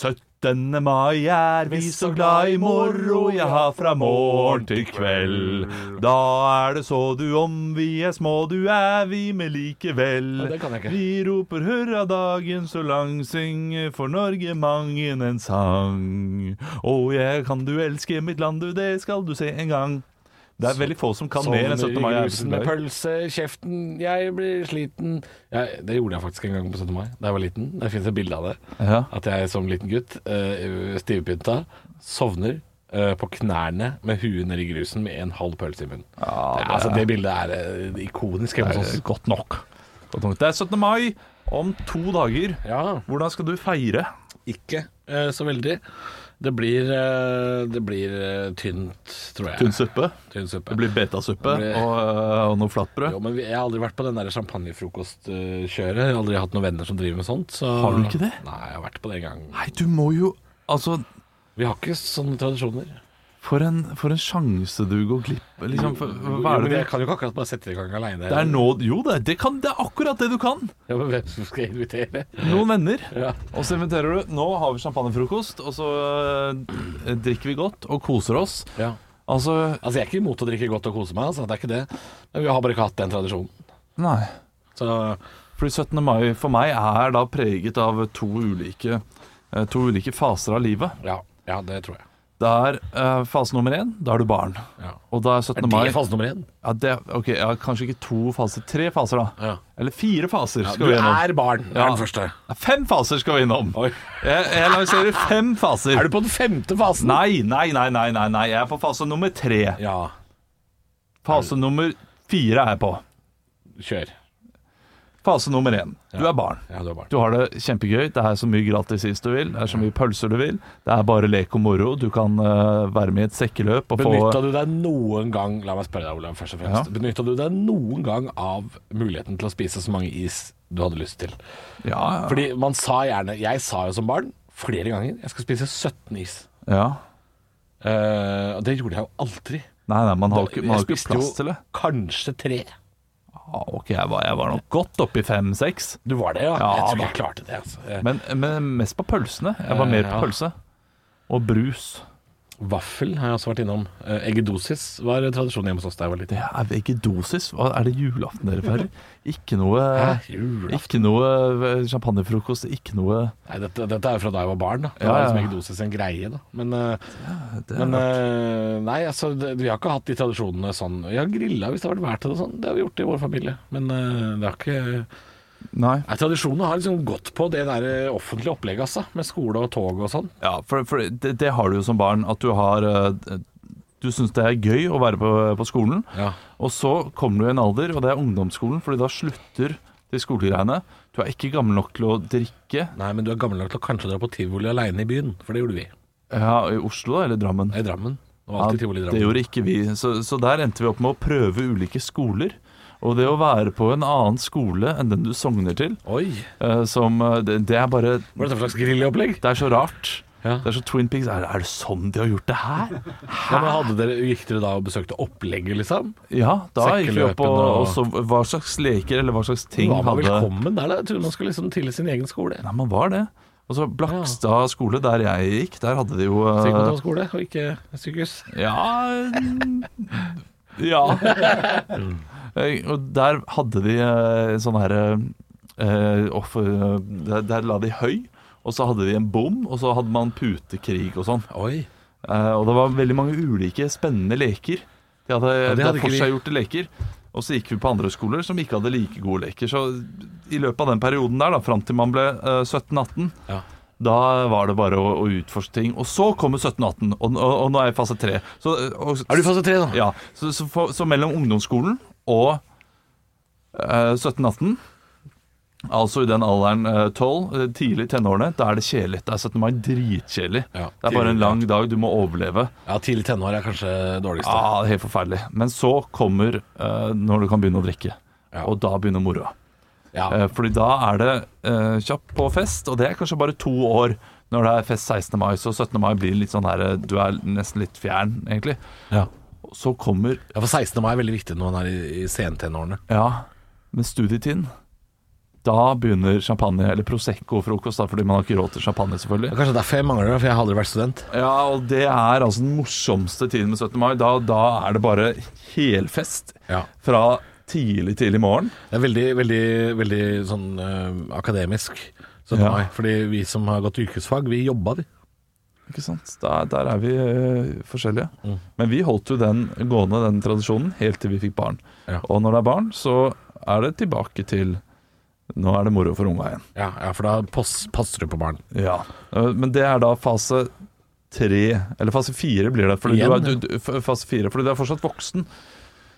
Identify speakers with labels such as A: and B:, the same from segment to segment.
A: 17. mai er vi så glad i moro, ja, fra morgen til kveld. Da er det så du om vi er små, du er vi med likevel.
B: Ja, det kan jeg ikke.
A: Vi roper hurra dagen så lang, synger for Norge mangen en sang. Å, jeg kan du elske mitt land, du, det skal du se en gang. Det er veldig få som kan mer enn 17. mai.
B: Sovner Sånn i
A: er det så
B: grusen med
A: glad i.
B: pølse i kjeften, jeg blir sliten jeg, Det gjorde jeg faktisk en gang på 17. mai, da jeg var liten. Det fins et bilde av det.
A: Ja.
B: At jeg som liten gutt, eh, stivpynta, sovner eh, på knærne med huet nedi grusen med en halv pølse i munnen. det, altså, det bildet er eh, ikonisk hjemme
A: Det
B: hos
A: er
B: oss.
A: godt nok. Godt nok. Det er 17. mai om to dager.
B: Ja.
A: Hvordan skal du feire?
B: Ikke eh, så veldig. Det blir, eh, det blir eh, tynt, tror jeg.
A: Tynn suppe?
B: Tynn suppe.
A: Det blir betasuppe
B: Det blir-
A: og, eh, og noe flatbrød.
B: Jo, men vi, Jeg har aldri vært på den der champagnefrokostkjøret. Jeg har aldri hatt noen venner som driver med sånt. Så...
A: Har du ikke det?
B: Nei, jeg har vært på det en gang.
A: Nei, du må jo Altså,
B: Vi har ikke sånne tradisjoner.
A: for en, for en sjanse du går glipp liksom, for, Hva
B: Jo,
A: er
B: men
A: det
B: Jeg kan jo ikke akkurat bare sette i gang aleine.
A: det er nå Jo, det, er- det, kan, det er akkurat det du kan!
B: Ja, men hvem som skal invitere?
A: Noen venner.
B: Ja.
A: Og så inviterer du Nå har vi champagnefrokost, og så øh, drikker vi godt og koser oss.
B: ja.
A: Altså
B: Altså, jeg er ikke imot å drikke godt og kose meg, altså. Det er ikke det. Men vi har bare ikke hatt den tradisjonen.
A: Nei.
B: Så
A: Fordi 17. mai for meg er da preget av to ulike, eh, to ulike faser av livet.
B: ja, ja det tror jeg.
A: Det er eh, fase nummer én, da er du barn.
B: Ja.
A: Og da er 17.
B: Er
A: mai
B: det fase nummer én?
A: ja, det, Ok, ja, kanskje ikke to faser. Tre faser, da.
B: Ja.
A: Eller fire faser
B: Ja,
A: skal
B: du
A: vi gjennom.
B: er barn,
A: Ja.
B: er den første.
A: Ja, Fem faser skal vi innom.
B: Oi.
A: Jeg, jeg lanserer fem faser.
B: Er du på den femte fasen?
A: Nei, nei, nei, nei, nei, nei. Jeg er på fase nummer tre.
B: Ja,
A: Fase nummer fire er jeg på.
B: kjør.
A: Fase nummer én. Du er barn.
B: Ja, du er barn.
A: Du har det kjempegøy. Det er så mye gratis is du vil. Det er så mye pølser du vil. Det er bare lek og moro. Du kan eh, være med i et sekkeløp og få
B: Benytta du deg noen gang La meg spørre deg, Olav, først og fremst.
A: Ja.
B: Benytta du deg noen gang av muligheten til å spise så mange is du hadde lyst til?
A: Ja, ja.
B: Fordi man sa gjerne Jeg sa jo som barn flere ganger jeg skal spise 17 is.
A: ja.
B: Eh, og det gjorde jeg jo aldri.
A: Nei, nei, man har jo ikke, man har jo
B: jeg
A: ikke
B: spiste jo
A: plass til det.
B: kanskje tre.
A: Ja, ok, jeg var, jeg var nok godt oppi fem-seks.
B: Du var det, ja?
A: Ja,
B: jeg tror
A: da.
B: jeg klarte det. Altså. Eh,
A: Men, men mest på pølsene. Jeg var mer på
B: Eh, ja.
A: pølse. Og brus.
B: Vaffel har jeg også vært innom. Eh, eggedosis var tradisjon hjemme hos oss da jeg var liten.
A: Det er veggedosis. Hva er det julaften dere feirer? Ikke noe
B: Hæ? Julaften?
A: Ikke noe eh, champagnefrokost, ikke noe
B: Nei, dette, dette er jo fra da jeg var barn. Da, da
A: Ja,
B: var
A: ja.
B: liksom eggedosis en greie. Da. Men, eh,
A: det er
B: men eh, nei, altså, det, vi har ikke hatt de tradisjonene sånn. Vi har grilla hvis det har vært vær til det. og Sånn. Det har vi gjort i vår familie. Men eh, det har ikke
A: Nei.
B: Nei, Tradisjonene har liksom gått på det der eh, offentlige opplegget, altså. Med skole og tog og sånn.
A: Ja, for, for det, det har du jo som barn, at du har eh, Du syns det er gøy å være på, på skolen,
B: Ja.
A: og så kommer du i en alder, og det er ungdomsskolen, fordi da slutter de skolegreiene. Du er ikke gammel nok til å drikke
B: Nei, men du er gammel nok til å kanskje dra på tivoli aleine i byen, for det gjorde vi.
A: ja, i Oslo da, eller Drammen.
B: I Drammen. Det
A: Ja,
B: var alltid tivoli i
A: Det
B: Drammen.
A: gjorde ikke vi. Så, så der endte vi opp med å prøve ulike skoler. Og det å være på en annen skole enn den du sogner til,
B: Oi!
A: eh, som eh, det, det er bare
B: Var dette for slags grilleopplegg?
A: Det er så rart.
B: Ja.
A: Det er så Twin Pigs. Er, er det sånn de har gjort det her?
B: Ja, men hadde dere, Gikk dere da og besøkte opplegget, liksom?
A: Ja, da gikk vi opp og,
B: Sekkeløpen og-
A: og så hva slags leker eller hva slags ting
B: Ting var man
A: hadde
B: velkommen der, da? Jeg trodde man skulle liksom til sin egen skole.
A: Nei, man var det. Og så Blakstad skole, der jeg gikk, der hadde de jo eh,
B: Sikkert på skole, og ikke sykehus.
A: Ja mm, Ja. Eh, Og der hadde de eh, sånn her eh, off, eh, der, der la de høy, og så hadde de en bom, og så hadde man putekrig og sånn.
B: Oi.
A: Eh, og det var veldig mange ulike spennende leker. De hadde,
B: det
A: det
B: hadde
A: hadde
B: ikke vi.
A: forseggjorte leker. Og så gikk vi på andre skoler som ikke hadde like gode leker. Så i løpet av den perioden der, da, fram til man ble eh, 17-18,
B: Ja.
A: da var det bare å, å utforske ting. Og så kommer 17-18, og, og, og nå er jeg i fase 3. Så, eh, og,
B: Er du fase tre, da?
A: Ja, så, så, for, så mellom ungdomsskolen og eh, 17-18 Altså i den alderen eh, 12, eh, tidlig i tenårene, da er det kjedelig. Det er 17. mai dritkjedelig.
B: Ja,
A: det er bare
B: tidlig,
A: en
B: ja.
A: lang dag, du må overleve.
B: Ja, Tidlig tenår er kanskje dårligst.
A: Ja,
B: da.
A: det er helt forferdelig. Men så kommer eh, når du kan begynne å drikke.
B: Ja.
A: Og da begynner moroa.
B: Ja.
A: Eh, fordi da er det eh, kjapt på fest, og det er kanskje bare to år når det er fest 16. mai. Så 17. mai blir litt sånn her eh, Du er nesten litt fjern, egentlig.
B: Ja.
A: Og Så kommer
B: ja, for 16. mai er veldig viktig når man er i, i sentenårene.
A: Ja, men studietiden Da begynner champagne, eller Prosecco-frokost, da, fordi man har ikke råd til champagne, selvfølgelig.
B: Kanskje derfor jeg mangler det, for jeg har aldri vært student.
A: Ja, og det er altså den morsomste tiden med 17. mai. Da, da er det bare helfest
B: Ja.
A: fra tidlig, tidlig morgen.
B: Det er veldig, veldig, veldig sånn eh, akademisk. Sånn
A: Ja.
B: mai. Fordi vi som har gått yrkesfag, vi jobba, vi.
A: Ikke sant? Der, der er vi eh, forskjellige. Men vi holdt jo den gående, den tradisjonen, helt til vi fikk barn.
B: Ja.
A: Og når det er barn, så er det tilbake til Nå er det moro for unga igjen.
B: Ja, ja for da pass, passer du på barn.
A: Ja. Eh, Men det er da fase tre Eller fase fire blir det. Fordi
B: Igjen,
A: du er,
B: ja.
A: du, du, f- fase fire, fordi du er fortsatt voksen.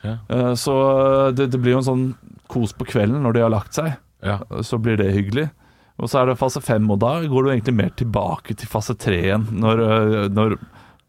B: Ja.
A: Eh, Så det, det blir jo en sånn kos på kvelden når de har lagt seg. eh,
B: Ja.
A: så blir det hyggelig. Og så er det fase fem, og da går du egentlig mer tilbake til fase tre igjen. Når, øh, når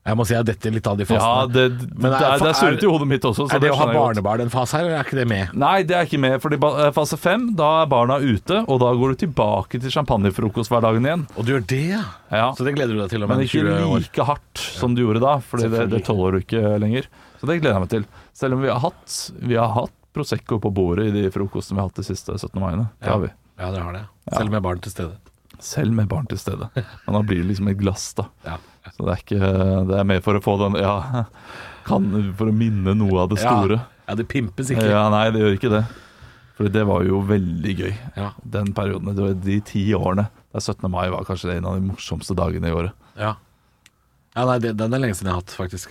B: Jeg må si jeg detter litt av de
A: Ja,
B: fasene.
A: det,
B: Men
A: det,
B: er-
A: er, det er surret i hodet mitt også. så
B: er det å ha
A: skjønner jeg godt.
B: barnebarn en fase her, eller er ikke det med?
A: Nei, det er ikke med. Fordi ba- eh, fase fem, da er barna ute, og da går du tilbake til champagnefrokosthverdagen igjen.
B: Og du gjør det, ja?
A: Ja.
B: Så det gleder du deg til om
A: Men
B: en
A: ikke
B: 20 år.
A: like hardt som du gjorde da, Fordi det, det
B: Selvfølgelig.
A: tåler du ikke lenger. Så det gleder jeg meg til. Selv om vi har hatt, vi har hatt Prosecco på bordet i de frokostene vi har hatt de siste 17. maiene. Det har vi.
B: Ja, det har det. Selv med barn til stede.
A: Selv med barn til stede. Men da blir det liksom et glass, da.
B: Ja.
A: Så det er ikke Det er mer for å få den Ja, kan, for å minne noe av det store.
B: Ja, ja det pimpes
A: Ja,
B: ikke.
A: nei, det gjør ikke det. For det var jo veldig gøy,
B: Ja.
A: den perioden. Det var de ti årene. Der 17. mai var kanskje en av de morsomste dagene i året.
B: Ja, ja nei, det, den er lenge siden jeg har hatt, faktisk.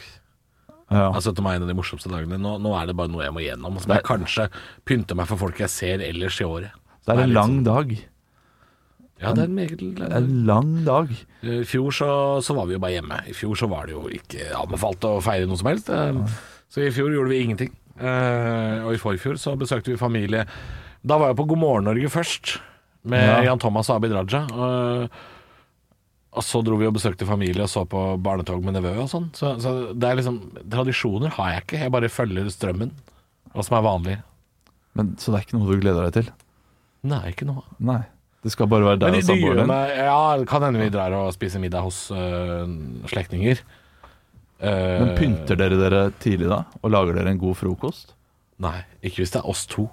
A: Ja.
B: Altså, 17. mai er en av de morsomste dagene. Nå, nå er det bare noe jeg må gjennom. Som
A: Det er-
B: jeg kanskje pynter meg for folk jeg ser ellers i året.
A: Det er
B: litt
A: en lang
B: sånn-
A: dag.
B: Ja, det er en meget
A: Det er En lang dag.
B: Eh, I fjor så, så var vi jo bare hjemme. I fjor så var det jo ikke anbefalt å feire noe som helst. eh, Så i fjor gjorde vi ingenting. Eh, Og i forfjor så besøkte vi familie Da var jeg på God morgen Norge først, med
A: Ja.
B: Jan Thomas og Abid Raja. eh, Og så dro vi og besøkte familie og så på barnetog med nevø og sånn. Så, så det er liksom Tradisjoner har jeg ikke. Jeg bare følger strømmen. Hva som er vanlig.
A: Men, så det er ikke noe du gleder deg til?
B: Nei, ikke noe.
A: Nei. Det skal bare være
B: Men
A: deg
B: det,
A: og
B: det gjør
A: samboeren din?
B: meg Ja, det kan hende vi drar og spiser middag hos øh, slektninger. Eh,
A: Men pynter dere dere tidlig da? Og lager dere en god frokost?
B: Nei, ikke hvis det er oss to.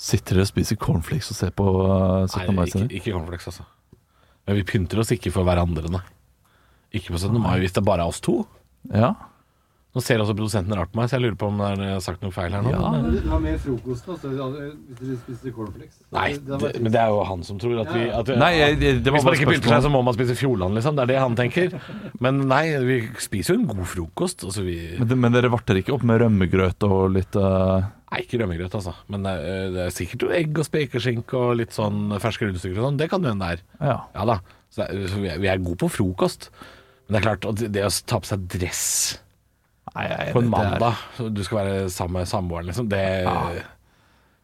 A: Sitter dere og spiser cornflakes og ser på uh, 17.
B: Nei, ikke,
A: mai-sending?
B: ikke cornflakes, altså. Men vi pynter oss ikke for hverandre, nei. Ikke på 17. mai hvis det bare er oss to.
A: Ja.
B: Nå ser også produsenten rart på meg, så jeg lurer på om det er øh, sagt noe feil her nå.
A: Ja.
B: men-
C: Det var mer frokost da, så vi hadde- hvis dere spiste cornflakes.
B: Nei,
C: Det- det
B: det,
C: var-
B: men det er jo han som tror at vi at,
A: Nei, jeg, jeg- det var
B: Hvis man
A: bare
B: ikke pynter
A: spørsmål.
B: seg, så må man spise Fjordland, liksom. Det er det han tenker. Men nei, vi spiser jo en god frokost. Altså vi
A: Men, de- men dere varter ikke opp med rømmegrøt og litt eh,
B: Nei, ikke rømmegrøt, altså. Men det er, det er sikkert noe egg og spekeskinke og litt sånn ferske rundstykker og sånn. Det kan det hende det er.
A: Ja.
B: Ja da. Så, det er, så vi, er, vi er gode på frokost. Men det er klart, at det å ta på seg dress
A: Nei, jeg,
B: på en mandag, så du skal være sammen med samboeren, liksom, det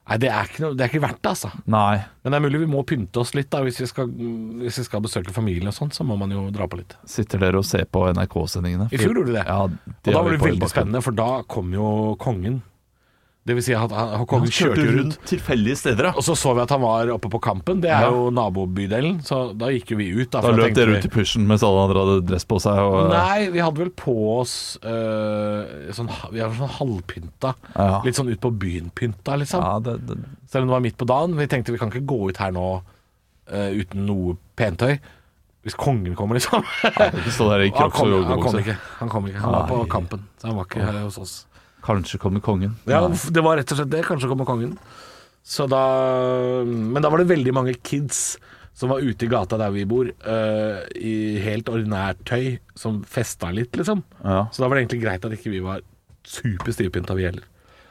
B: Nei, det er, ikke noe, det er ikke verdt det, altså.
A: Nei.
B: Men det er mulig vi må pynte oss litt, da. Hvis vi skal, hvis vi skal besøke familien og sånn, så må man jo dra på litt.
A: Sitter dere og ser på NRK-sendingene?
B: I fjor gjorde du det.
A: Ja,
B: Og
A: det
B: da
A: har
B: var
A: vi
B: det
A: på i
B: veldig
A: bakgrunnen.
B: spennende, for da kom jo kongen. Det vil si at han, han- kongen
A: Han
B: kjørte jo rundt
A: tilfeldige steder,
B: Og så så vi at han var oppe på Kampen, det er
A: Ja.
B: jo nabobydelen, så da gikk jo vi ut. Da,
A: Da
B: for da
A: løp
B: tenkte
A: dere
B: vi-
A: ut i pysjen mens alle andre hadde dress på seg. Og,
B: Nei, vi hadde vel på oss øh, sånn, Vi var sånn halvpynta.
A: Ja.
B: Litt sånn ut på byen-pynta, liksom.
A: Ja, det, det,
B: Selv om det var midt på dagen. Vi tenkte vi kan ikke gå ut her nå øh, uten noe pentøy. Hvis kongen kommer, liksom.
A: ikke stå der i
B: Han
A: kropps-
B: kom,
A: og
B: han kom
A: joggebukse.
B: ikke. Han kom ikke Han var på
A: Nei.
B: Kampen, så han var ikke her hos oss.
A: Kanskje kommer kongen.
B: Ja,
A: Nei.
B: det var rett og slett det. Kanskje kommer kongen. Så da, men da var det veldig mange kids som var ute i gata der vi bor, eh, i helt ordinært tøy, som festa litt, liksom.
A: Ja.
B: Så da var det egentlig greit at ikke vi var superstivpynta, vi heller.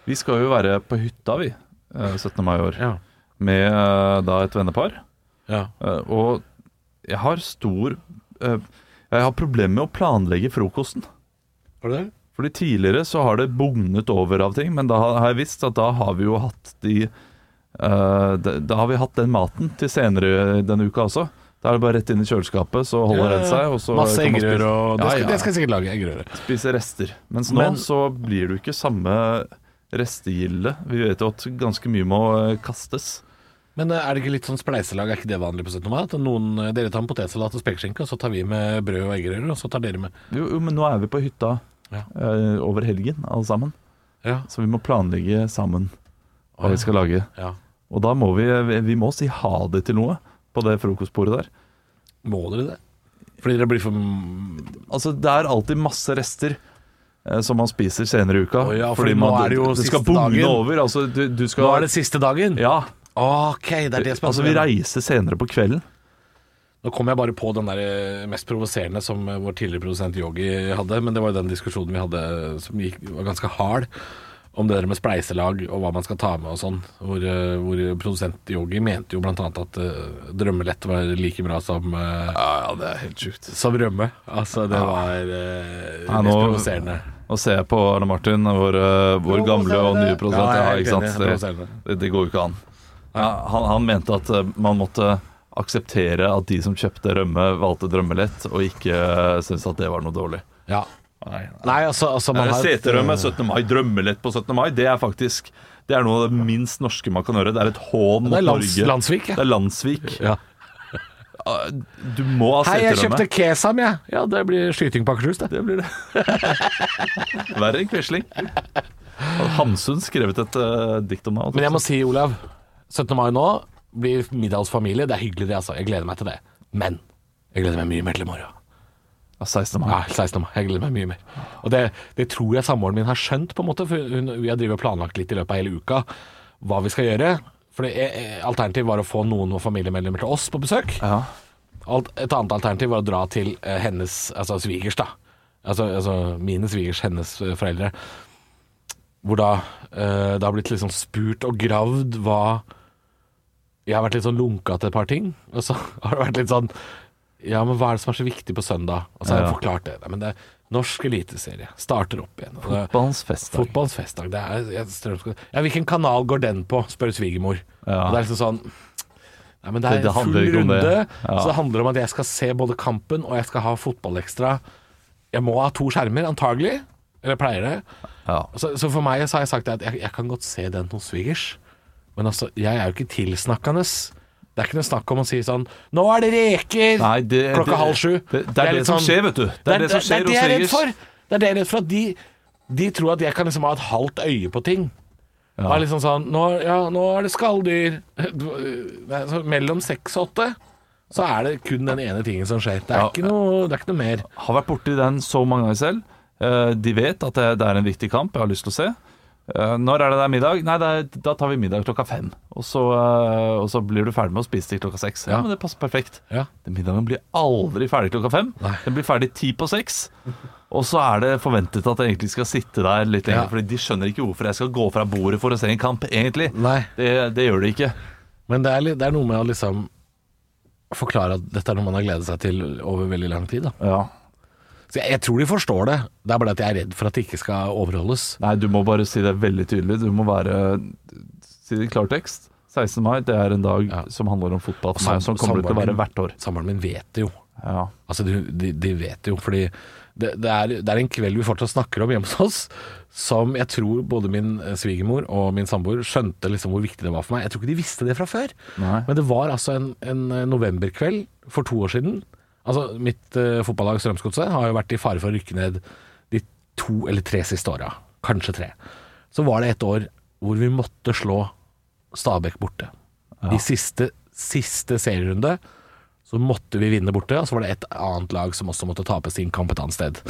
A: Vi skal jo være på hytta, vi, eh, 17. mai i år,
B: Ja.
A: med eh, da et vennepar.
B: Ja.
A: Eh, Og jeg har stor eh, Jeg har problemer med å planlegge frokosten.
B: Var det det?
A: Fordi tidligere så har det bugnet over av ting, men da har jeg visst at da har vi jo hatt de eh, da, da har vi hatt den maten til senere denne uka også. Da er det bare rett inn i kjøleskapet, så holder den seg. Og så
B: Masse
A: kan man
B: eggerøre
A: spise-
B: og det skal,
A: ja, ja,
B: det skal jeg sikkert lage. Eggerøre.
A: spise rester. Mens nå
B: Men-
A: så blir det jo ikke samme restegilde. Vi vet jo at ganske mye må eh, kastes.
B: Men eh, er det ikke litt sånn spleiselag, er ikke det vanlig på 17. mai? At noen, eh, dere tar en potetsalat og spekeskinke, og så tar vi med brød og eggerøre, og så tar dere med
A: Jo, jo, men nå er vi på hytta
B: Ja.
A: eh, over helgen, alle sammen.
B: Ja.
A: Så vi må planlegge sammen hva vi skal lage.
B: ja.
A: Og da må vi, eh, vi må si ha det til noe på det frokostbordet der.
B: Må dere det? Fordi dere blir for
A: Altså, det er alltid masse rester eh, som man spiser senere i uka.
B: Å ja, fordi nå er det jo
A: skal
B: siste
A: bugne
B: dagen.
A: over. Altså, du, du skal
B: Nå er det siste dagen?
A: Ja.
B: Ok, det er det som er
A: Altså, vi
B: problemet.
A: reiser senere på kvelden.
B: Nå kom jeg bare på den der eh, mest provoserende som eh, vår tidligere produsent Yogi hadde, men det var jo den diskusjonen vi hadde eh, som gikk, var ganske hard, om det der med spleiselag og hva man skal ta med og sånn. Hvor, eh, hvor produsent Yogi mente jo blant annet at eh, drømmelett var like bra som, eh,
A: det er helt sjukt.
B: som rømme. Altså, det var eh,
A: Ja,
B: mest
A: nå-
B: provoserende.
A: Nå ser jeg på Arne Martin, vår, eh, vår
C: Jo,
A: gamle og
C: så er det-
A: nye produsent.
B: Ja, jeg er
A: Ja,
B: helt
A: ikke
B: enig, jeg er
A: sant?
B: produsent.
A: Det, det går jo ikke an. Ja, han, han mente at eh, man måtte akseptere at de som kjøpte rømme, valgte drømmelett, og ikke eh, syntes at det var noe dårlig.
B: Ja.
A: Nei,
B: Nei, altså, altså man har et-
A: Seterømme 17. mai, drømmelett på 17. mai, det er faktisk Det er noe av det minst norske man kan gjøre. Det er et hån
B: Det
A: mot
B: er lands,
A: Norge.
B: Landsvik,
A: Det
B: ja.
A: er Landsvik. Ah,
B: ja.
A: Du må ha
B: Hei, jeg
A: seterømme.
B: kjøpte kesam, jeg. Ja. det blir skyting på Akershus, det.
A: Det blir det. Verre enn Quisling. Hadde Hamsun skrevet et eh, dikt om det.
B: Men jeg må si, Olav, 17. mai nå blir middag hos familie. Det er hyggelig, det, altså. Jeg gleder meg til det. Men jeg gleder meg mye mer til i morgen.
A: Ja, 16. mai.
B: Ja, 16. mai. Jeg gleder meg mye mer. Og det, det tror jeg samboeren min har skjønt, på en måte. For hun, vi har drevet og planlagt litt i løpet av hele uka hva vi skal gjøre. For det, eh, alternativet var å få noen og familiemedlemmer til oss på besøk.
A: Ja.
B: Alt, et annet alternativ var å dra til eh, hennes, altså svigers da Altså, altså mine svigers, hennes eh, foreldre Hvor da eh, det har blitt liksom spurt og gravd hva Jeg har vært litt sånn lunka til et par ting Og så har det vært litt sånn Ja, men hva er det som er så viktig på søndag? Og så har jeg
A: Ja.
B: forklart det Nei, men det er norsk eliteserie Starter opp igjen Og det-
A: Fotballens festdag.
B: Fotballens festdag. Det er, jeg, strømskog- ja, hvilken kanal går den på, spør svigermor.
A: Ja.
B: Og Det er liksom sånn Nei, men det er
A: Det- det handler
B: full
A: ikke om
B: runde,
A: det. Ja.
B: så det handler om at jeg skal se både kampen og jeg skal ha fotballekstra. Jeg må ha to skjermer, antagelig. Eller jeg pleier det.
A: Ja.
B: Så, så for meg så har jeg sagt at jeg, jeg kan godt se den hos svigers, men altså, jeg er jo ikke tilsnakkende. Det er ikke noe snakk om å si sånn Nå er det reker!
A: Nei, det,
B: Klokka
A: det,
B: halv sju.
A: Det, det er det,
B: litt
A: som
B: sånn-
A: skjer, vet du. Det er det, som skjer
B: det
A: hos
B: jeg er redd
A: Regis.
B: for. Det er det jeg er redd for at de, de tror at jeg kan liksom ha et halvt øye på ting. Det er liksom sånn Nå, ja, nå er det skalldyr. Nei, så Mellom seks og åtte så er det kun den ene tingen som skjer. Det er,
A: Ja.
B: ikke, noe, det er ikke noe mer.
A: Har vært borti den så mange ganger selv. Eh, De vet at det, det er en viktig kamp jeg har lyst til å se. Eh, Når er det det er middag? Nei, det er, da tar vi middag klokka fem. Og så, eh, og så blir du ferdig med å spise til klokka seks. Ja,
B: Ja.
A: men det passer perfekt.
B: Ja.
A: Den Middagen blir aldri ferdig klokka fem.
B: Nei.
A: Den blir ferdig ti på seks. Og så er det forventet at jeg egentlig skal sitte der litt lenger,
B: Ja.
A: Fordi de skjønner ikke hvorfor jeg skal gå fra bordet for å se en kamp, egentlig.
B: Nei.
A: Det, det gjør de ikke.
B: Men det er, litt- det er noe med å liksom forklare at dette er noe man har gledet seg til over veldig lang tid. Da.
A: Ja.
B: Så jeg, jeg tror de forstår det. Det er bare at jeg er redd for at det ikke skal overholdes.
A: Nei, du må bare si det veldig tydelig. Du må være Si det i klartekst. 16. mai det er en dag
B: Ja.
A: som handler om fotball,
B: sam-
A: som, som kommer det til å være
B: samboeren
A: hvert år.
B: Samboeren min vet det jo.
A: Ja.
B: Altså, de, de, de vet det jo, fordi det, det, er, det er en kveld vi fortsatt snakker om hjemme hos oss, som jeg tror både min eh, svigermor og min samboer skjønte liksom hvor viktig det var for meg. Jeg tror ikke de visste det fra før.
A: Nei.
B: Men det var altså en, en eh, novemberkveld for to år siden. Altså, mitt eh, fotballag Strømsgodset har jo vært i fare for å rykke ned de to eller tre siste åra. Kanskje tre. Så var det et år hvor vi måtte slå Stabæk borte. I siste, siste serierunde så måtte vi vinne borte, og så var det et annet lag som også måtte tape sin kamp et annet sted.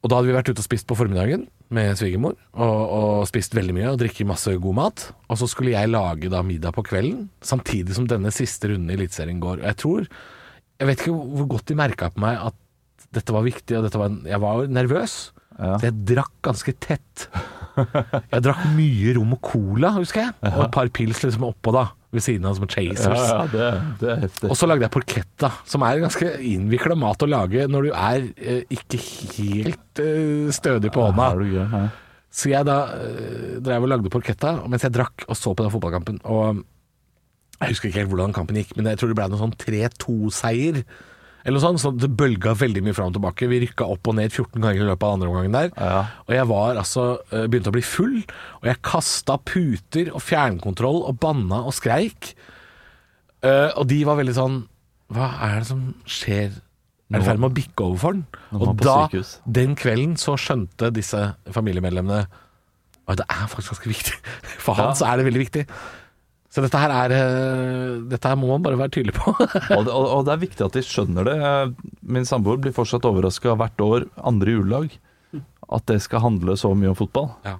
B: Og da hadde vi vært ute og spist på formiddagen med svigermor, og, og spist veldig mye og drikke masse god mat. Og så skulle jeg lage da middag på kvelden, samtidig som denne siste runden i Eliteserien går. Og jeg tror Jeg vet ikke hvor godt de merka på meg at dette var viktig, og dette var en, jeg var nervøs.
A: Ja.
B: Så jeg drakk ganske tett. Jeg drakk mye rom og cola, husker jeg. Og et par pils liksom oppå da, ved siden av som Chasers.
A: Ja, ja, det, det er heftig.
B: Og så lagde jeg porchetta, som er en ganske innvikla mat å lage når du er eh, ikke helt eh, stødig på
A: Ja, er
B: hånda.
A: du gøy? Nei.
B: Så jeg da eh, drev og lagde porchetta mens jeg drakk og så på den fotballkampen. Og jeg husker ikke helt hvordan kampen gikk, men jeg tror det ble noen sånn 3-2-seier. Eller noe sånt, så Det bølga veldig mye fram og tilbake. Vi rykka opp og ned 14 ganger i løpet av andre omgangen der.
A: Ja.
B: Og jeg var altså eh, begynte å bli full, og jeg kasta puter og fjernkontroll og banna og skreik. Eh, og de var veldig sånn Hva er det som skjer? Er det i ferd med å bikke over for den?
A: Nå var
B: Og
A: han på
B: da,
A: sykehus.
B: den kvelden, så skjønte disse familiemedlemmene at det er faktisk ganske viktig. For
A: Ja.
B: han så er det veldig viktig. Så dette her er eh, Dette her må man bare være tydelig på.
A: Og det, og, og det er viktig at de skjønner det. Min samboer blir fortsatt overraska hvert år, andre juledag, at det skal handle så mye om fotball.
B: ja.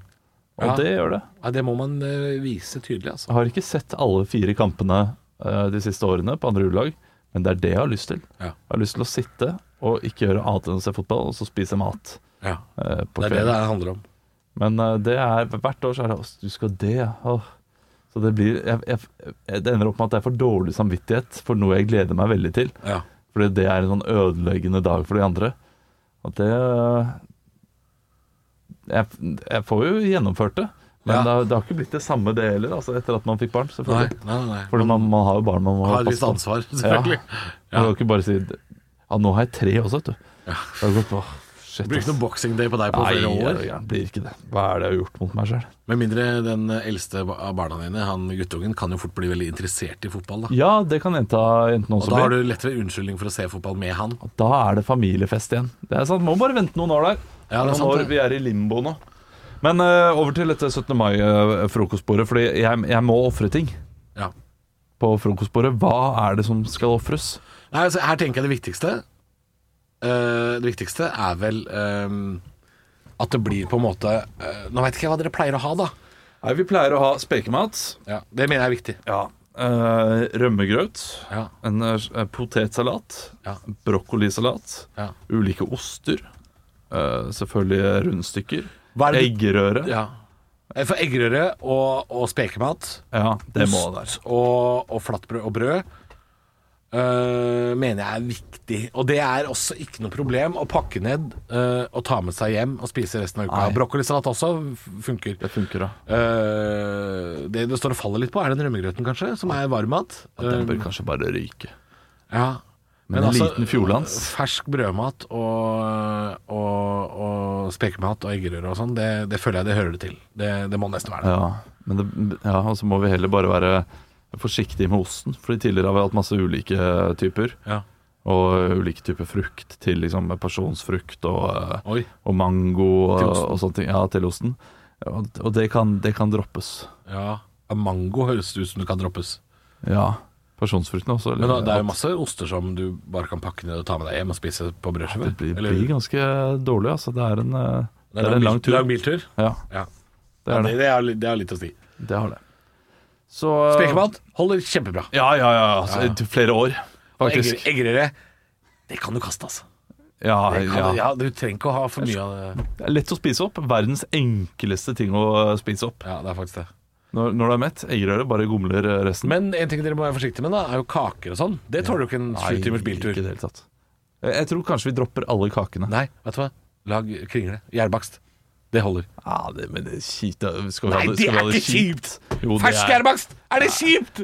A: Og
B: Ja.
A: det gjør det.
B: Ja, det må man eh, vise tydelig, altså.
A: Jeg har ikke sett alle fire kampene eh, de siste årene på andre juledag, men det er det jeg har lyst til.
B: Ja.
A: Jeg har lyst til å sitte og ikke gjøre annet enn å se fotball, og så spise mat
B: Ja.
A: eh, på
B: Det er det det
A: kvelden.
B: her handler om.
A: Men eh, det er hvert år så er det «Åh, Du skal det, ja. Åh». Så det blir jeg, jeg, Det ender opp med at jeg får dårlig samvittighet for noe jeg gleder meg veldig til.
B: Ja.
A: Fordi det er en sånn ødeleggende dag for de andre. At det Jeg, jeg får jo gjennomført det, men
B: Ja.
A: det, har, det har ikke blitt det samme det heller, altså, etter at man fikk barn.
B: Nei,
A: selvfølgelig.
B: nei, nei.
A: Fordi man, man har jo barn man må
B: Har et
A: passe
B: visst
A: på.
B: ansvar, selvfølgelig.
A: Man kan ikke bare si Ja, nå har jeg tre også, vet du. Det har gått, åh, shit,
B: Det blir ikke
A: ass.
B: noen Boxing Day på deg på
A: Nei, er
B: flere år.
A: det gærent? blir ikke det. Hva er det jeg har gjort mot meg sjøl?
B: Med mindre den eldste ba- av barna dine, han guttungen, kan jo fort bli veldig interessert i fotball. Da.
A: Ja, det kan jenta jentene
B: Og
A: også
B: da har
A: bli.
B: du lettere unnskyldning for å se fotball med han.
A: Da er det familiefest igjen. Det er sant, Må bare vente noen år der.
B: Ja, det er
A: noen
B: sant,
A: år,
B: det.
A: vi er i limbo nå. Men eh, over til dette 17. mai-frokostbordet, Fordi jeg, jeg må ofre ting
B: Ja.
A: på frokostbordet. Hva er det som skal ofres?
B: Nei, altså, her tenker jeg det viktigste eh, Det viktigste er vel eh, at det blir på en måte eh, Nå veit ikke jeg hva dere pleier å ha, da.
A: Nei, Vi pleier å ha spekemat.
B: Ja, det mener jeg er viktig.
A: Ja. eh, rømmegrøt.
B: Ja.
A: En eh, potetsalat.
B: Ja.
A: Brokkolisalat.
B: Ja.
A: Ulike oster. eh, selvfølgelig rundstykker.
B: Hva er det du-
A: Eggerøre. Ja.
B: Ja. Eh, For eggerøre og, og spekemat
A: det må det være.
B: Ost og, og flatbrød og brød øh, mener jeg er viktig. Og det er også ikke noe problem å pakke ned øh, og ta med seg hjem og spise resten av uka.
A: Nei.
B: Brokkolisalat også f- funker.
A: Det funker, da.
B: Øh, det det står og faller litt på, er den rømmegrøten, kanskje, som er varmmat.
A: Den bør
B: Øh,
A: kanskje bare ryke.
B: ja. eh,
A: Men
B: altså,
A: en liten fjordlands.
B: Fersk brødmat og, og, og spekemat og eggerøre og sånn, det, det føler jeg det hører det til. Det, det må nesten være det.
A: Ja, men det, ja, og så må vi heller bare være forsiktige med osten. Fordi tidligere har vi hatt masse ulike typer.
B: Ja.
A: Og ulike typer frukt til liksom pasjonsfrukt og, eh,
B: Oi.
A: og mango og,
B: Til osten.
A: og sånne ting. Ja, til osten. Og, og det, kan, det kan droppes.
B: Ja. Mango høres ut som det kan droppes.
A: Ja. Pasjonsfrukten også. eller-
B: Men da, det er jo masse oster som du bare kan pakke ned og ta med deg hjem og spise på brødskive.
A: det blir,
B: Eller-
A: blir ganske dårlig, altså. Det er en, eh, det er en lang tur.
B: Lang biltur.
A: Ja,
B: Ja.
A: det er
B: det,
A: det.
B: det, er, litt- det er litt å si.
A: Det har det. Så
B: Spekemat holder kjempebra.
A: Ja, ja, ja. altså,
B: Ja.
A: til Flere år,
B: Egger,
A: faktisk.
B: eggerøre, det kan du kaste, altså.
A: Ja,
B: Det
A: ja.
B: kan, ja, du trenger ikke å ha for mye av det.
A: Det er lett å spise opp. Verdens enkleste ting å eh, spise opp.
B: Ja, det er faktisk det.
A: Når, når du er mett, eggerøre, bare gomler eh, resten.
B: Men en ting dere må være forsiktige med, da, er jo kaker og sånn. Det tåler jo ikke en sju timers biltur.
A: Ikke i det hele tatt. Jeg jeg tror kanskje vi dropper alle kakene.
B: Nei, vet du hva. Lag kringle. Gjærbakst. Det holder.
A: Ja, det, men det er kjipt. da. Skal vi
B: Nei,
A: ha skal
B: det
A: vi
B: er
A: ha
B: ikke kjipt!
A: Jo, det
B: Fersk
A: er,
B: gjærbakst! Er det kjipt?!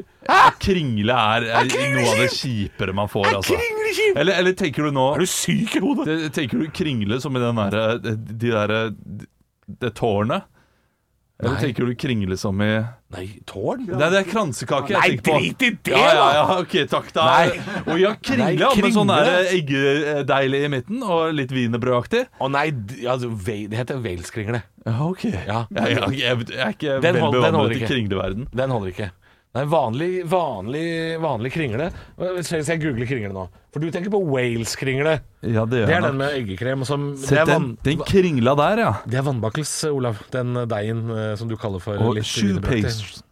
A: kringle er, er
B: kringle
A: noe av det kjipere man får,
B: Er
A: altså.
B: kringle kjipt?!
A: Eller, eller tenker du nå
B: Er du syk i hodet?
A: det- Tenker du kringle som i den derre de de derre Det tårnet? Eller
B: Nei.
A: tenker du kringle som i
B: Nei, tårn?
A: Nei, det er kransekake jeg
B: Nei,
A: tenker på.
B: drit i det,
A: ja, ja,
B: da!
A: ja, ok, takk da
B: Nei.
A: Og ja, kringle, ja,
B: Nei,
A: med sånn
B: kringle.
A: der eggedeil i midten Og litt wienerbrødaktig
B: Å nei, d- ja, altså, ve- det heter Wales-kringle.
A: Ja, ok
B: Ja.
A: Jeg, jeg, jeg, jeg er ikke
B: Den
A: vel
B: hold- den holder
A: bevandret i
B: ikke.
A: kringleverden
B: Den holder ikke. Nei, vanlig, vanlig, vanlig kringle. Skal jeg google kringle nå? For du tenker på Wales-kringle.
A: Ja, det gjør
B: Det er
A: jeg
B: den
A: nok
B: med eggekrem som det
A: Se,
B: er,
A: den,
B: vann,
A: den kringla der, ja
B: det er vannbakkels, Olav. Den deigen eh, som du kaller for
A: Og
B: litt wienerbrød.
A: shoepaste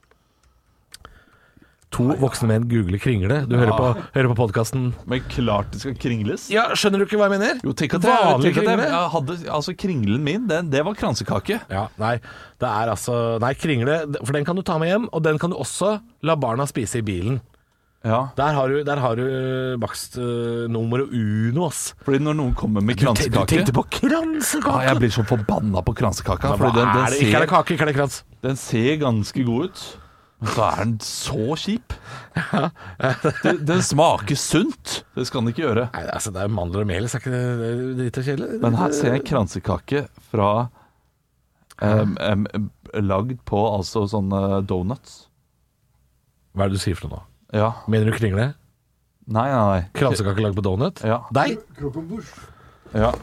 B: To voksne menn googler kringle. Du hører på, hører på podkasten.
A: Men klart det skal kringles
B: Ja, skjønner du ikke hva jeg mener?
A: Jo, tenk at jeg,
B: Vanlig
A: tenk at jeg,
B: kringle?
A: jeg hadde Altså, kringlen min, den, det var kransekake
B: Ja, nei, det er altså Nei, kringle, for den kan du ta med hjem, og den kan du også la barna spise i bilen.
A: Ja
B: Der har du, der har du bakst uh, nummer uno, ass.
A: Fordi når noen kommer med kransekake
B: på
A: ja,
B: kransekake?
A: Ah, jeg blir så forbanna på kransekaka
B: Ja,
A: Fordi den,
B: hva er
A: den
B: det?
A: ser
B: Ikke er det kake, ikke er det krans.
A: Den ser ganske god ut, men så er den så kjip. Den, den smaker sunt. Det skal den ikke gjøre.
B: Nei, altså, det er mandler og melis, er ikke det, det er drita kjedelig?
A: Men her ser jeg en kransekake fra em, em, Lagd på altså sånne donuts.
B: Hva er det du sier for noe nå?
A: Ja.
B: Mener du kringle?
A: Nei, nei, nei.
B: Kransekake lagd på donut?
A: Ja.
B: Deg?
C: Kroppen bors.
A: ja.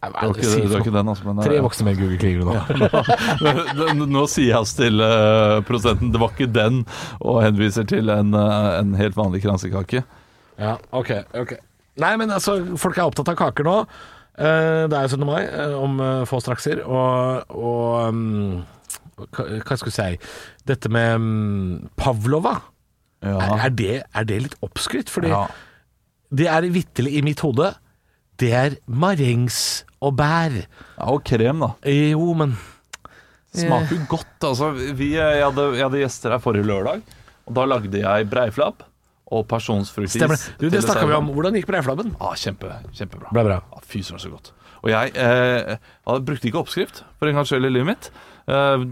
B: Nei,
A: Det var ikke, det var ikke den, altså. Men,
B: Tre voksne menn googler nå.
A: Nå- Nå sier jeg oss til eh, prosenten 'det var ikke den', og henviser til en, eh, en helt vanlig kransekake.
B: Ja, ok, ok Nei, men altså, folk er opptatt av kaker nå Eh, Det er jo 17. mai eh, om eh, få strakser Og, og mm, hva, hva skulle jeg si Dette med mm, Pavlova er,
A: Ja.
B: er, det, er det litt oppskrytt? Fordi
A: Ja.
B: det er vitterlig i mitt hode Det er marengs og bær
A: Ja, og krem, da.
B: Eh, Jo, men
A: Smaker jo godt. Altså, vi, jeg, hadde, jeg hadde gjester her forrige lørdag, og da lagde jeg breiflabb og personsfruktis.
B: stemmer det Du,
A: til
B: det snakket vi
A: desserten.
B: om Hvordan gikk breiflabben?
A: Ja, kjempe, kjempebra.
B: Ble bra.
A: Ja, Fy søren, så godt. Og jeg eh, hadde- brukte ikke oppskrift for en gangs skyld i livet mitt. Eh,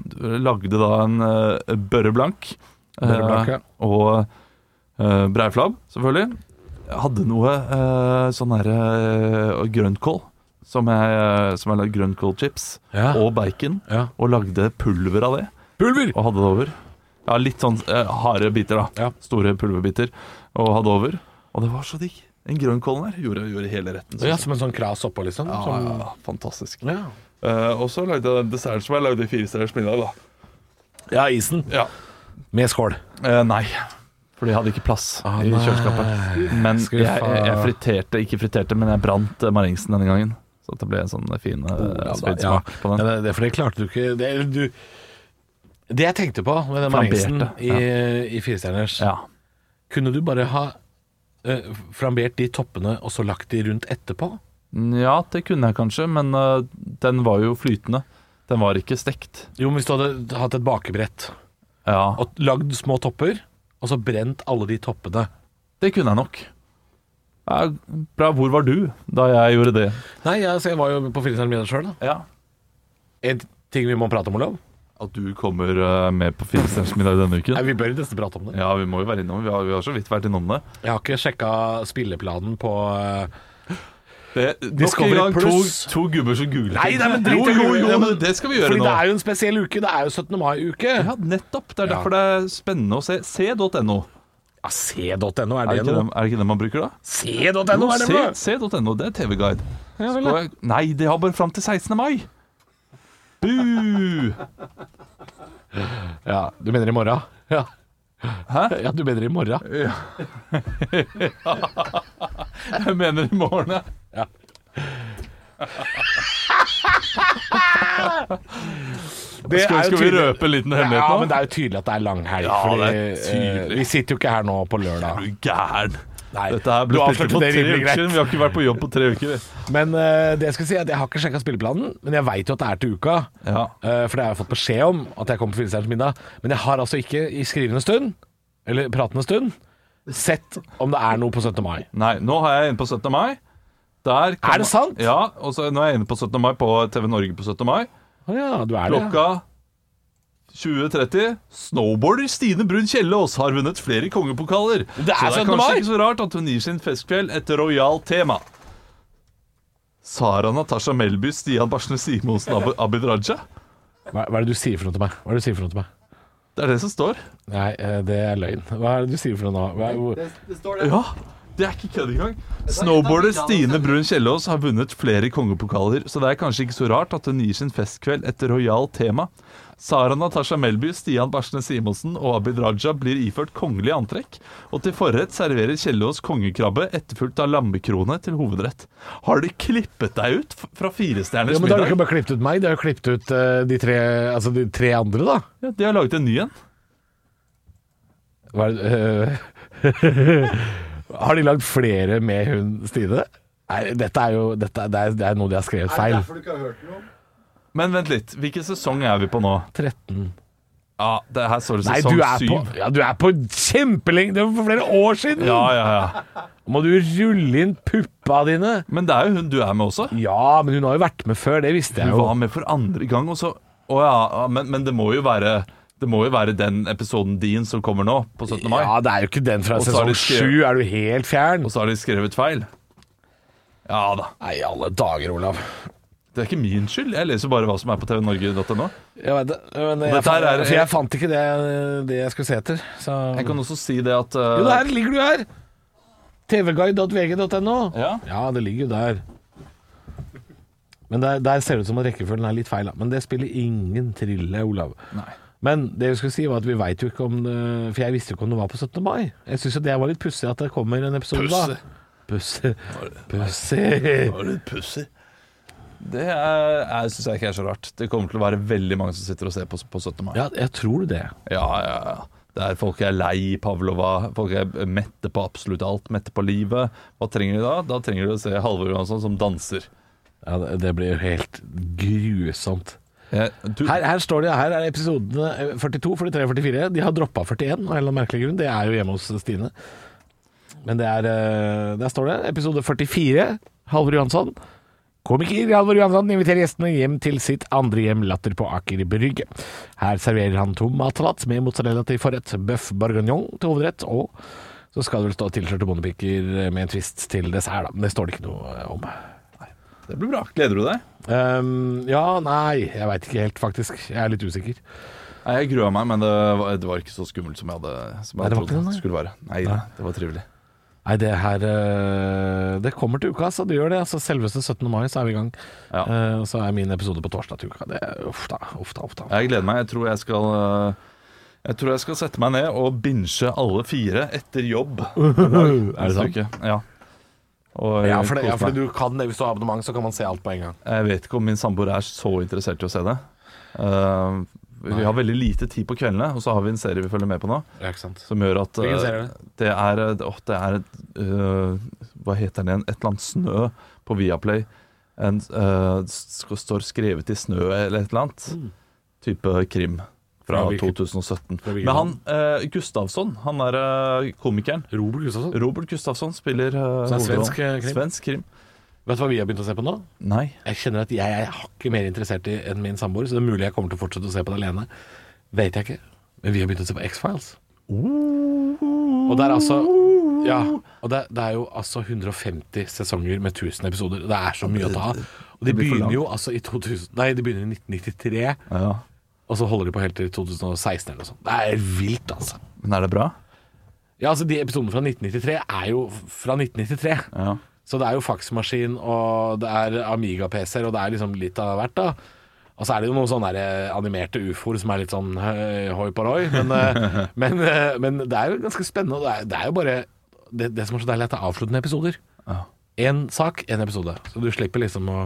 A: lagde da en eh, børre blank.
B: Børre blank, ja.
A: Og eh, breiflabb, selvfølgelig. Jeg hadde noe eh, sånn her eh, grønnkål. Som jeg, eh, som jeg lagde grønnkålchips
B: Ja.
A: og bacon.
B: Ja.
A: Og lagde pulver av det
B: Pulver!
A: og hadde det over. Ja, litt sånn eh, harde biter, da.
B: Ja.
A: Store pulverbiter. Og hadde over. Og det var så digg. Den grønnkålen her gjorde, gjorde hele retten.
B: Ja,
A: synes jeg.
B: som en sånn kras oppå liksom
A: Ja,
B: som,
A: ja, ja, fantastisk.
B: ja.
A: Eh, og så lagde jeg den desserten som jeg lagde i Firestjerners middag, da.
B: ja, isen
A: Ja.
B: Med skål
A: Eh, nei. Fordi jeg hadde ikke plass
B: Ah,
A: i kjøleskapet. Men jeg,
B: Skuffa.
A: jeg, jeg friterte, ikke friterte, men jeg brant eh, marengsen denne gangen. Så det ble en sånn fin uh,
B: Oh, Ja, da,
A: smak
B: ja.
A: på den.
B: Ja, det, det, for det klarte du ikke Det, eller du, det jeg tenkte på med den
A: Flamberte,
B: marengsen i, i Firestjerners
A: Ja.
B: Kunne du bare ha eh, flambert de toppene og så lagt de rundt etterpå?
A: ja, det kunne jeg kanskje, men eh, den var jo flytende. Den var ikke stekt.
B: Jo, men hvis du hadde hatt et bakebrett
A: Ja,
B: og lagd små topper, og så brent alle de toppene
A: Det kunne jeg nok. Ja, bra, hvor var du da jeg gjorde det?
B: Nei, jeg, så jeg var jo på Firestjerners middag sjøl, da.
A: Ja.
B: En ting vi må prate om, Olav.
A: At du kommer eh, med på Firestjerners middag denne
B: Nei,
A: uken?
B: vi bør nesten prate om det.
A: Ja, vi må jo være innom. Vi har, vi har så vidt vært innom det.
B: Jeg har ikke sjekka spilleplanen på eh,
A: det nok
B: Discovery
A: en gang to,
B: Plus.
A: to gubber som guler.
B: Nei, nei, men drit
A: jo,
B: i
A: jo,
B: gule.
A: jo,
B: Ja, men-
A: men det skal vi gjøre
B: Fordi
A: nå.
B: det er jo en spesiell uke. Det er jo 17. mai-uke.
A: Ja, nettopp. Det er
B: Ja.
A: derfor det er spennende å se. C.no.
B: Ja, C.no, er
A: Er,
B: det
A: det ikke
B: noe?
A: dem- er det ikke den man bruker da?
B: C.no,
A: Jo,
B: er det noe?
A: C- C.no, det er TV-guide.
B: Ja, vel,
A: Skal jeg- Nei, de har bare fram til 16. mai. Bu!
B: Ja, du mener i morgen? Ja.
A: Hæ?
B: Ja, du mener i morgen?
A: Jeg mener i morgen, ja.
B: Det
A: Skal, skal vi røpe en liten hemmelighet nå?
B: Ja, men det er jo tydelig at det er langhelg.
A: Ja,
B: fordi,
A: det er tydelig.
B: eh, vi sitter jo ikke her nå på
A: Er
B: lørdag.
A: du gæren?
B: Nei,
A: Dette her ble
B: du
A: spilt inn
B: avslørte
A: på
B: det
A: tre
B: rimelig
A: uker
B: greit.
A: siden. Vi har ikke vært på jobb på tre uker.
B: Men eh, det jeg skal si er at jeg har ikke sjekka spilleplanen, men jeg veit jo at det er til uka.
A: Ja.
B: Eh, for det har jeg fått beskjed om, at jeg kommer på Filisteinerens middag. Men jeg har altså ikke i skrivende stund, eller pratende stund, sett om det er noe på 17. mai.
A: Nei, nå er jeg inne på 17. mai. Der kan-
B: Er det sant?
A: Ja, og så nå er jeg inne på 17. mai på TV Norge på 17. mai.
B: Å ja, du er det. ja.
A: Klokka 20.30. Snowboarder Stine Brun Kjellås har vunnet flere kongepokaler.
B: er 17.
A: kanskje
B: mai.
A: ikke så rart at hun gir sin festkveld et rojalt tema. Sara Natasha Melby, Stian Barsne Simonsen, Ab- Abid Raja.
B: Hva, hva er det du sier for noe til meg? Hva er det du sier for noe til meg?
A: Det er det som står.
B: Nei, eh, det er løgn. Hva er det du sier for noe nå? Hva er, hvor-
C: Det, det står det.
A: Ja, det er sånn, ikke kødd engang. Snowboarder Stine Brun Kjellås har vunnet flere kongepokaler, så det er kanskje ikke så rart at hun gir sin festkveld et rojalt tema. Sara Natasha Melby, Stian Barsne Simonsen og Abid Raja blir iført kongelig antrekk, og til forrett serverer Kjellås kongekrabbe etterfulgt av lammekrone til hovedrett. Har de klippet deg ut f- fra
B: Ja,
A: Firestjerners
B: men da har du ikke
A: middag?
B: bare klippet ut meg, de har jo klippet ut eh, de, tre, altså de tre andre, da.
A: Ja, de har laget en ny en.
B: Hva er det, eh, har de lagd flere med hun Stine? Nei, dette er jo dette, er- det, er, det er noe de har skrevet
C: Er det
B: feil.
C: derfor du ikke har hørt noe?
A: Men vent litt, hvilken sesong er vi på nå?
B: 13.
A: Ja, det her står det
B: Nei, du
A: sesong
B: er på,
A: sånn syv.
B: ja, du er på kjempelenge! Det var for flere år siden!
A: Ja, ja, ja.
B: Må du rulle inn puppa dine?
A: Men det er jo hun du er med også.
B: Ja, men hun har jo vært med før, det visste jeg
A: Hun var
B: jo.
A: med for andre gang, og så Å ja, ja, men, men det må jo være Det må jo være den episoden din som kommer nå, på 17. mai.
B: Ja, det er jo ikke den fra
A: Og så har
B: sesong
A: de skrevet-
B: sju, er du helt fjern?
A: Og så har de skrevet feil. Ja da.
B: Nei, i alle dager, Olav.
A: Det er ikke min skyld. Jeg leser bare hva som er på tvnorge.no.
B: Jeg vet det, men jeg,
A: Dette her
B: fant-
A: er-
B: for jeg fant ikke det, det jeg skulle se etter. Så.
A: Jeg kan også si det at
B: Jo,
A: eh,
B: der ligger du her! tvguide.vg.no.
A: eh, ja.
B: Ja, det ligger jo der. Men der, der ser det ut som at rekkefølgen er litt feil, da. Men det spiller ingen trille, Olav.
A: Nei.
B: Men det jeg skulle si var at vi veit jo ikke om det For jeg visste jo ikke om det var på 17. mai. Jeg syns jo det var litt pussig at det kommer en episode
A: Pussig?
B: da. Pussig. Pussig.
A: Var du pussig? Det er- jeg syns jeg ikke er så rart. Det kommer til å være veldig mange som sitter og ser på på 17. mai.
B: Ja, jeg tror det.
A: Ja, ja, ja. Det er folk er lei Pavlova, folk er mette på absolutt alt, mette på livet. Hva trenger de da? Da trenger de å se Halvor Johansson som danser.
B: Ja, det- det blir jo helt grusomt.
A: Jeg, du,
B: Her, her står det, her er episodene eh, 42, 43, 44. De har droppa 41 av en eller annen merkelig grunn. Det er jo hjemme hos Stine. Men det er eh, Der står det. Episode 44. Halvor Johansson. Komiker Halvor Johansson inviterer gjestene hjem til sitt andre hjem, Latter på Aker Brygge. Her serverer han tomatsalat med mozzarella til forrett, bøff bourguignon til hovedrett, og så skal det vel stå tilskjørte bondepiker med en twist til dessert, da. Men det står det ikke noe eh, om.
A: det blir bra. Gleder du deg?
B: Ehm, ja, nei, jeg veit ikke helt, faktisk. Jeg er litt usikker.
A: Nei, jeg grua meg, men det var, det var ikke så skummelt som jeg hadde, som
B: Nei,
A: jeg
B: det var ikke
A: trodde
B: det,
A: det
B: nei.
A: skulle være. Nei,
B: Nei.
A: det var trivelig.
B: Nei, det her eh, Det kommer til uka, så det gjør det. Altså, selveste 17. mai så er vi i gang.
A: Ja.
B: Eh, og så er min episode på torsdag til uka. Det er uff da, uff da, uff da.
A: Jeg gleder meg. Jeg tror jeg skal øh, jeg tror jeg skal sette meg ned og binche alle fire etter jobb.
B: Er det sant?
A: Ja. Og
B: Ja, for, det, ja,
A: kose
B: for
A: meg.
B: du kan det hvis du har abonnement, så kan man se alt på en gang.
A: Jeg vet ikke om min samboer er så interessert i å se det. Eh, vi har veldig lite tid på kveldene, og så har vi en serie vi følger med på nå.
B: Ja, ikke sant.
A: Som gjør at eh,
B: Hvilken serie er det?
A: det er, eh, åh, det er eh, Hva heter den igjen? Et eller annet snø på Viaplay. En, eh, sk- står skrevet i snø eller et eller annet. Type krim fra
B: Mm. Fra hvilket-
A: 2017.
B: fra hvilket
A: Men han eh, Gustavsson, han er eh, komikeren
B: Robert Gustafsson.
A: Robert Gustavsson spiller eh,
B: Så det er
A: hovedrollen.
B: svensk, eh, krim?
A: svensk krim.
B: Vet du hva vi har begynt å se på nå?
A: Nei.
B: Jeg kjenner at jeg er hakket mer interessert i enn min samboer, så det er mulig jeg kommer til å fortsette å se på det alene. Vet jeg ikke. Men vi har begynt å se på X-Files. Og det er altså Ja. Og det, det er jo altså 150 sesonger med 1000 episoder. Det er så mye å ta av. Og de
A: Det blir for
B: begynner jo altså i 2000 Nei, de begynner i 1993,
A: Ja.
B: og så holder de på helt til 2016 eller noe sånt. Det er vilt, altså.
A: Men er det bra?
B: Ja, altså de episodene fra 1993 er jo fra 1993.
A: Ja.
B: Så det er jo faksmaskin, og det er Amiga-PC-er, og det er liksom litt av hvert, da. Og så er det jo noen sånne der eh, animerte ufoer som er litt sånn høy hoi paroi, men, eh, men, eh, men det er jo ganske spennende. Og det er, det er jo bare det, det som er så deilig, er at det er avsluttende episoder.
A: Ja.
B: Én sak, én episode. Så du slipper liksom å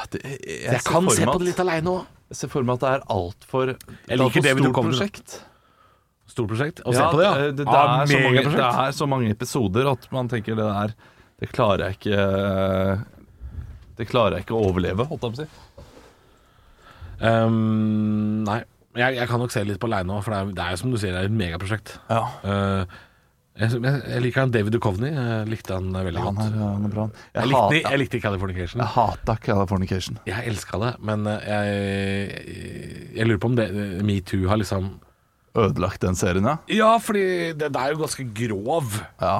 A: At det- jeg, jeg
B: Jeg
A: ser
B: kan
A: for
B: se
A: meg
B: på
A: at-
B: det litt aleine òg.
A: Jeg ser for meg at det er altfor
B: liker det vi
A: stort
B: tok om det.
A: prosjekt.
B: Stort prosjekt. Å
A: Ja, eh,
B: se på det, ja.
A: det, det,
B: Ah,
A: er så mange,
B: megaprosjekt.
A: det er så mange episoder at man tenker det der Det klarer jeg ikke eh, Det klarer jeg ikke å overleve, holdt jeg på å si.
B: Ehm, nei. Jeg, jeg kan nok se litt på aleine òg, for det er, det er jo som du sier, det er et megaprosjekt.
A: Ja,
B: Eh, jeg, jeg, jeg liker han David Duchovny. Jeg likte han veldig
A: han
B: godt.
A: er, han er bra.
B: Jeg
A: Jeg
B: likte,
A: hata-
B: jeg likte Californication.
A: jeg hata Californication.
B: Jeg elska det, men eh, jeg, jeg lurer på om det metoo har liksom
A: Ødelagt den serien, ja.
B: Ja, fordi det, er jo ganske grov.
A: Ja,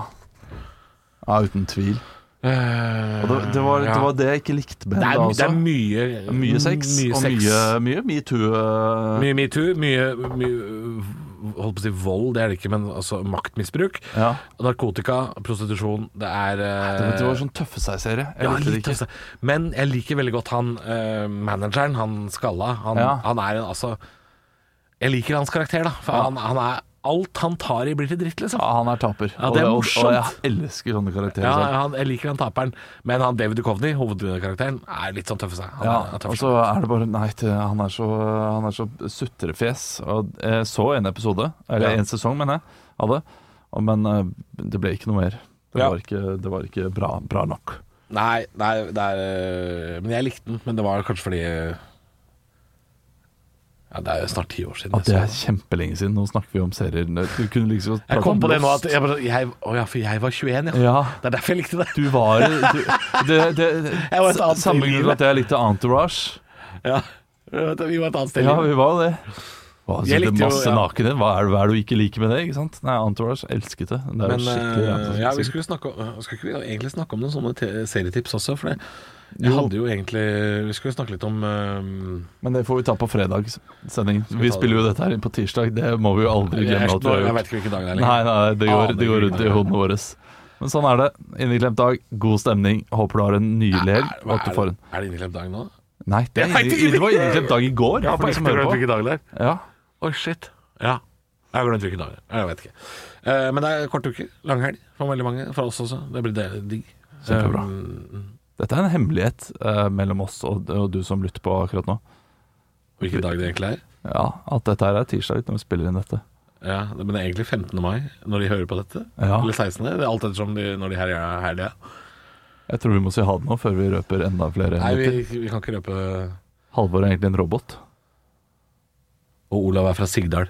A: ja uten tvil. Og det, det, var, det var det jeg ikke likte med
B: Eh, det er,
A: da
B: det
A: også.
B: er mye
A: Mye sex
B: mye
A: og
B: sex.
A: mye, mye metoo. eh,
B: Mye metoo, mye, mye Holdt på å si vold, det er det ikke, men altså maktmisbruk.
A: Ja.
B: Narkotika, prostitusjon, det er eh,
A: Det var- det var sånn tøffe seg-serie. Jeg
B: ja,
A: likte det
B: litt
A: ikke.
B: tøffeste. Men jeg liker veldig godt han eh, manageren, han skalla. Han,
A: Ja.
B: han er en altså Jeg liker hans karakter, da. For
A: Ja.
B: han, han er Alt han tar i, blir til dritt, liksom.
A: Ja, han er taper.
B: Ja, det er
A: Og Og, og
B: morsomt.
A: jeg elsker sånne karakterer.
B: Ja,
A: sånn.
B: han, jeg liker han taperen, men han David Duchovny, hovedkarakteren, er litt sånn tøffe seg. Han,
A: Ja,
B: er- han
A: og
B: tøffer
A: så er det bare Nei, det- han er så, han er så sutrefjes. Og jeg så en episode, eller
B: Ja.
A: en sesong, mener jeg, av det. Og- Men eh, det ble ikke noe mer. Det
B: Ja.
A: var ikke, det var ikke bra, bra nok.
B: seg. Nei, nei, det er øh, Men jeg likte den, men det var kanskje fordi øh, Ja, det er jo snart ti år siden.
A: At det er
B: så-
A: kjempelenge siden. Nå snakker vi om serier. Du kunne like så godt
B: jeg
A: prate
B: kom
A: om
B: på det nå
A: Lost.
B: at jeg, bare- jeg, Å ja, for jeg var 21, ja.
A: Ja.
B: Det er derfor jeg likte det.
A: Du var du, det, det,
B: Jeg var et annet
A: Samme
B: sted i
A: grunn til
B: livet.
A: at jeg likte Entourage.
B: Ja. Vi var et annet sted.
A: Ja, vi var jo det. Hva, så altså,
B: Jeg
A: det
B: likte jo-
A: masse
B: ja.
A: nakenhet. Hva er, det- hva er det du ikke liker med det? ikke sant? Nei, Entourage elsket det. Det er jo
B: Men
A: skikkelig
B: eh,
A: ræva.
B: ja, vi skulle snakke om, skal ikke vi egentlig snakke om noen sånne te- serietips også? For det, jeg
A: Jo.
B: hadde jo egentlig Vi skulle snakke litt om eh,
A: Men det får vi ta på fredagssendingen.
B: vi
A: Vi
B: ta
A: spiller jo dette her inn på tirsdag. Det må vi jo aldri
B: jeg,
A: glemme at vi
B: jeg,
A: har
B: vet
A: gjort.
B: ikke hvilken dag det er
A: Nei,
B: lenger.
A: nei, det går,
B: Aner
A: det går
B: ikke.
A: rundt i hodene våre. Men sånn er det. Inneklemt dag, god stemning. Håper du har en nydelig helg. og
B: hva
A: at du
B: er-
A: får en
B: Er det inneklemt dag nå?
A: Nei, det,
B: Nei,
A: er
B: det-
A: inni- det var inneklemt dag i går. for de som hører på.
B: dag det er.
A: Ja.
B: Oi, shit. Ja. Jeg har glemt hvilken dag det er. Jeg vet ikke. Eh, men det er kort uke. Lang helg for veldig mange. Fra oss også. Det blir deilig- digg.
A: Kjempebra.
B: Um,
A: Dette er en hemmelighet eh, mellom oss og, og du som lytter på akkurat nå.
B: hvilken dag det egentlig er.
A: Ja, At dette her er tirsdag når vi spiller inn dette.
B: Ja, det- Men det er egentlig 15. mai når de hører på dette.
A: Ja.
B: Eller 16. Det er alt ettersom de, når de her er helga.
A: Jeg tror vi må si ha det nå før vi røper enda flere.
B: Nei,
A: hemmeligheter.
B: vi, vi kan ikke røpe
A: Halvor er egentlig en robot.
B: Og Olav er fra Sigdal.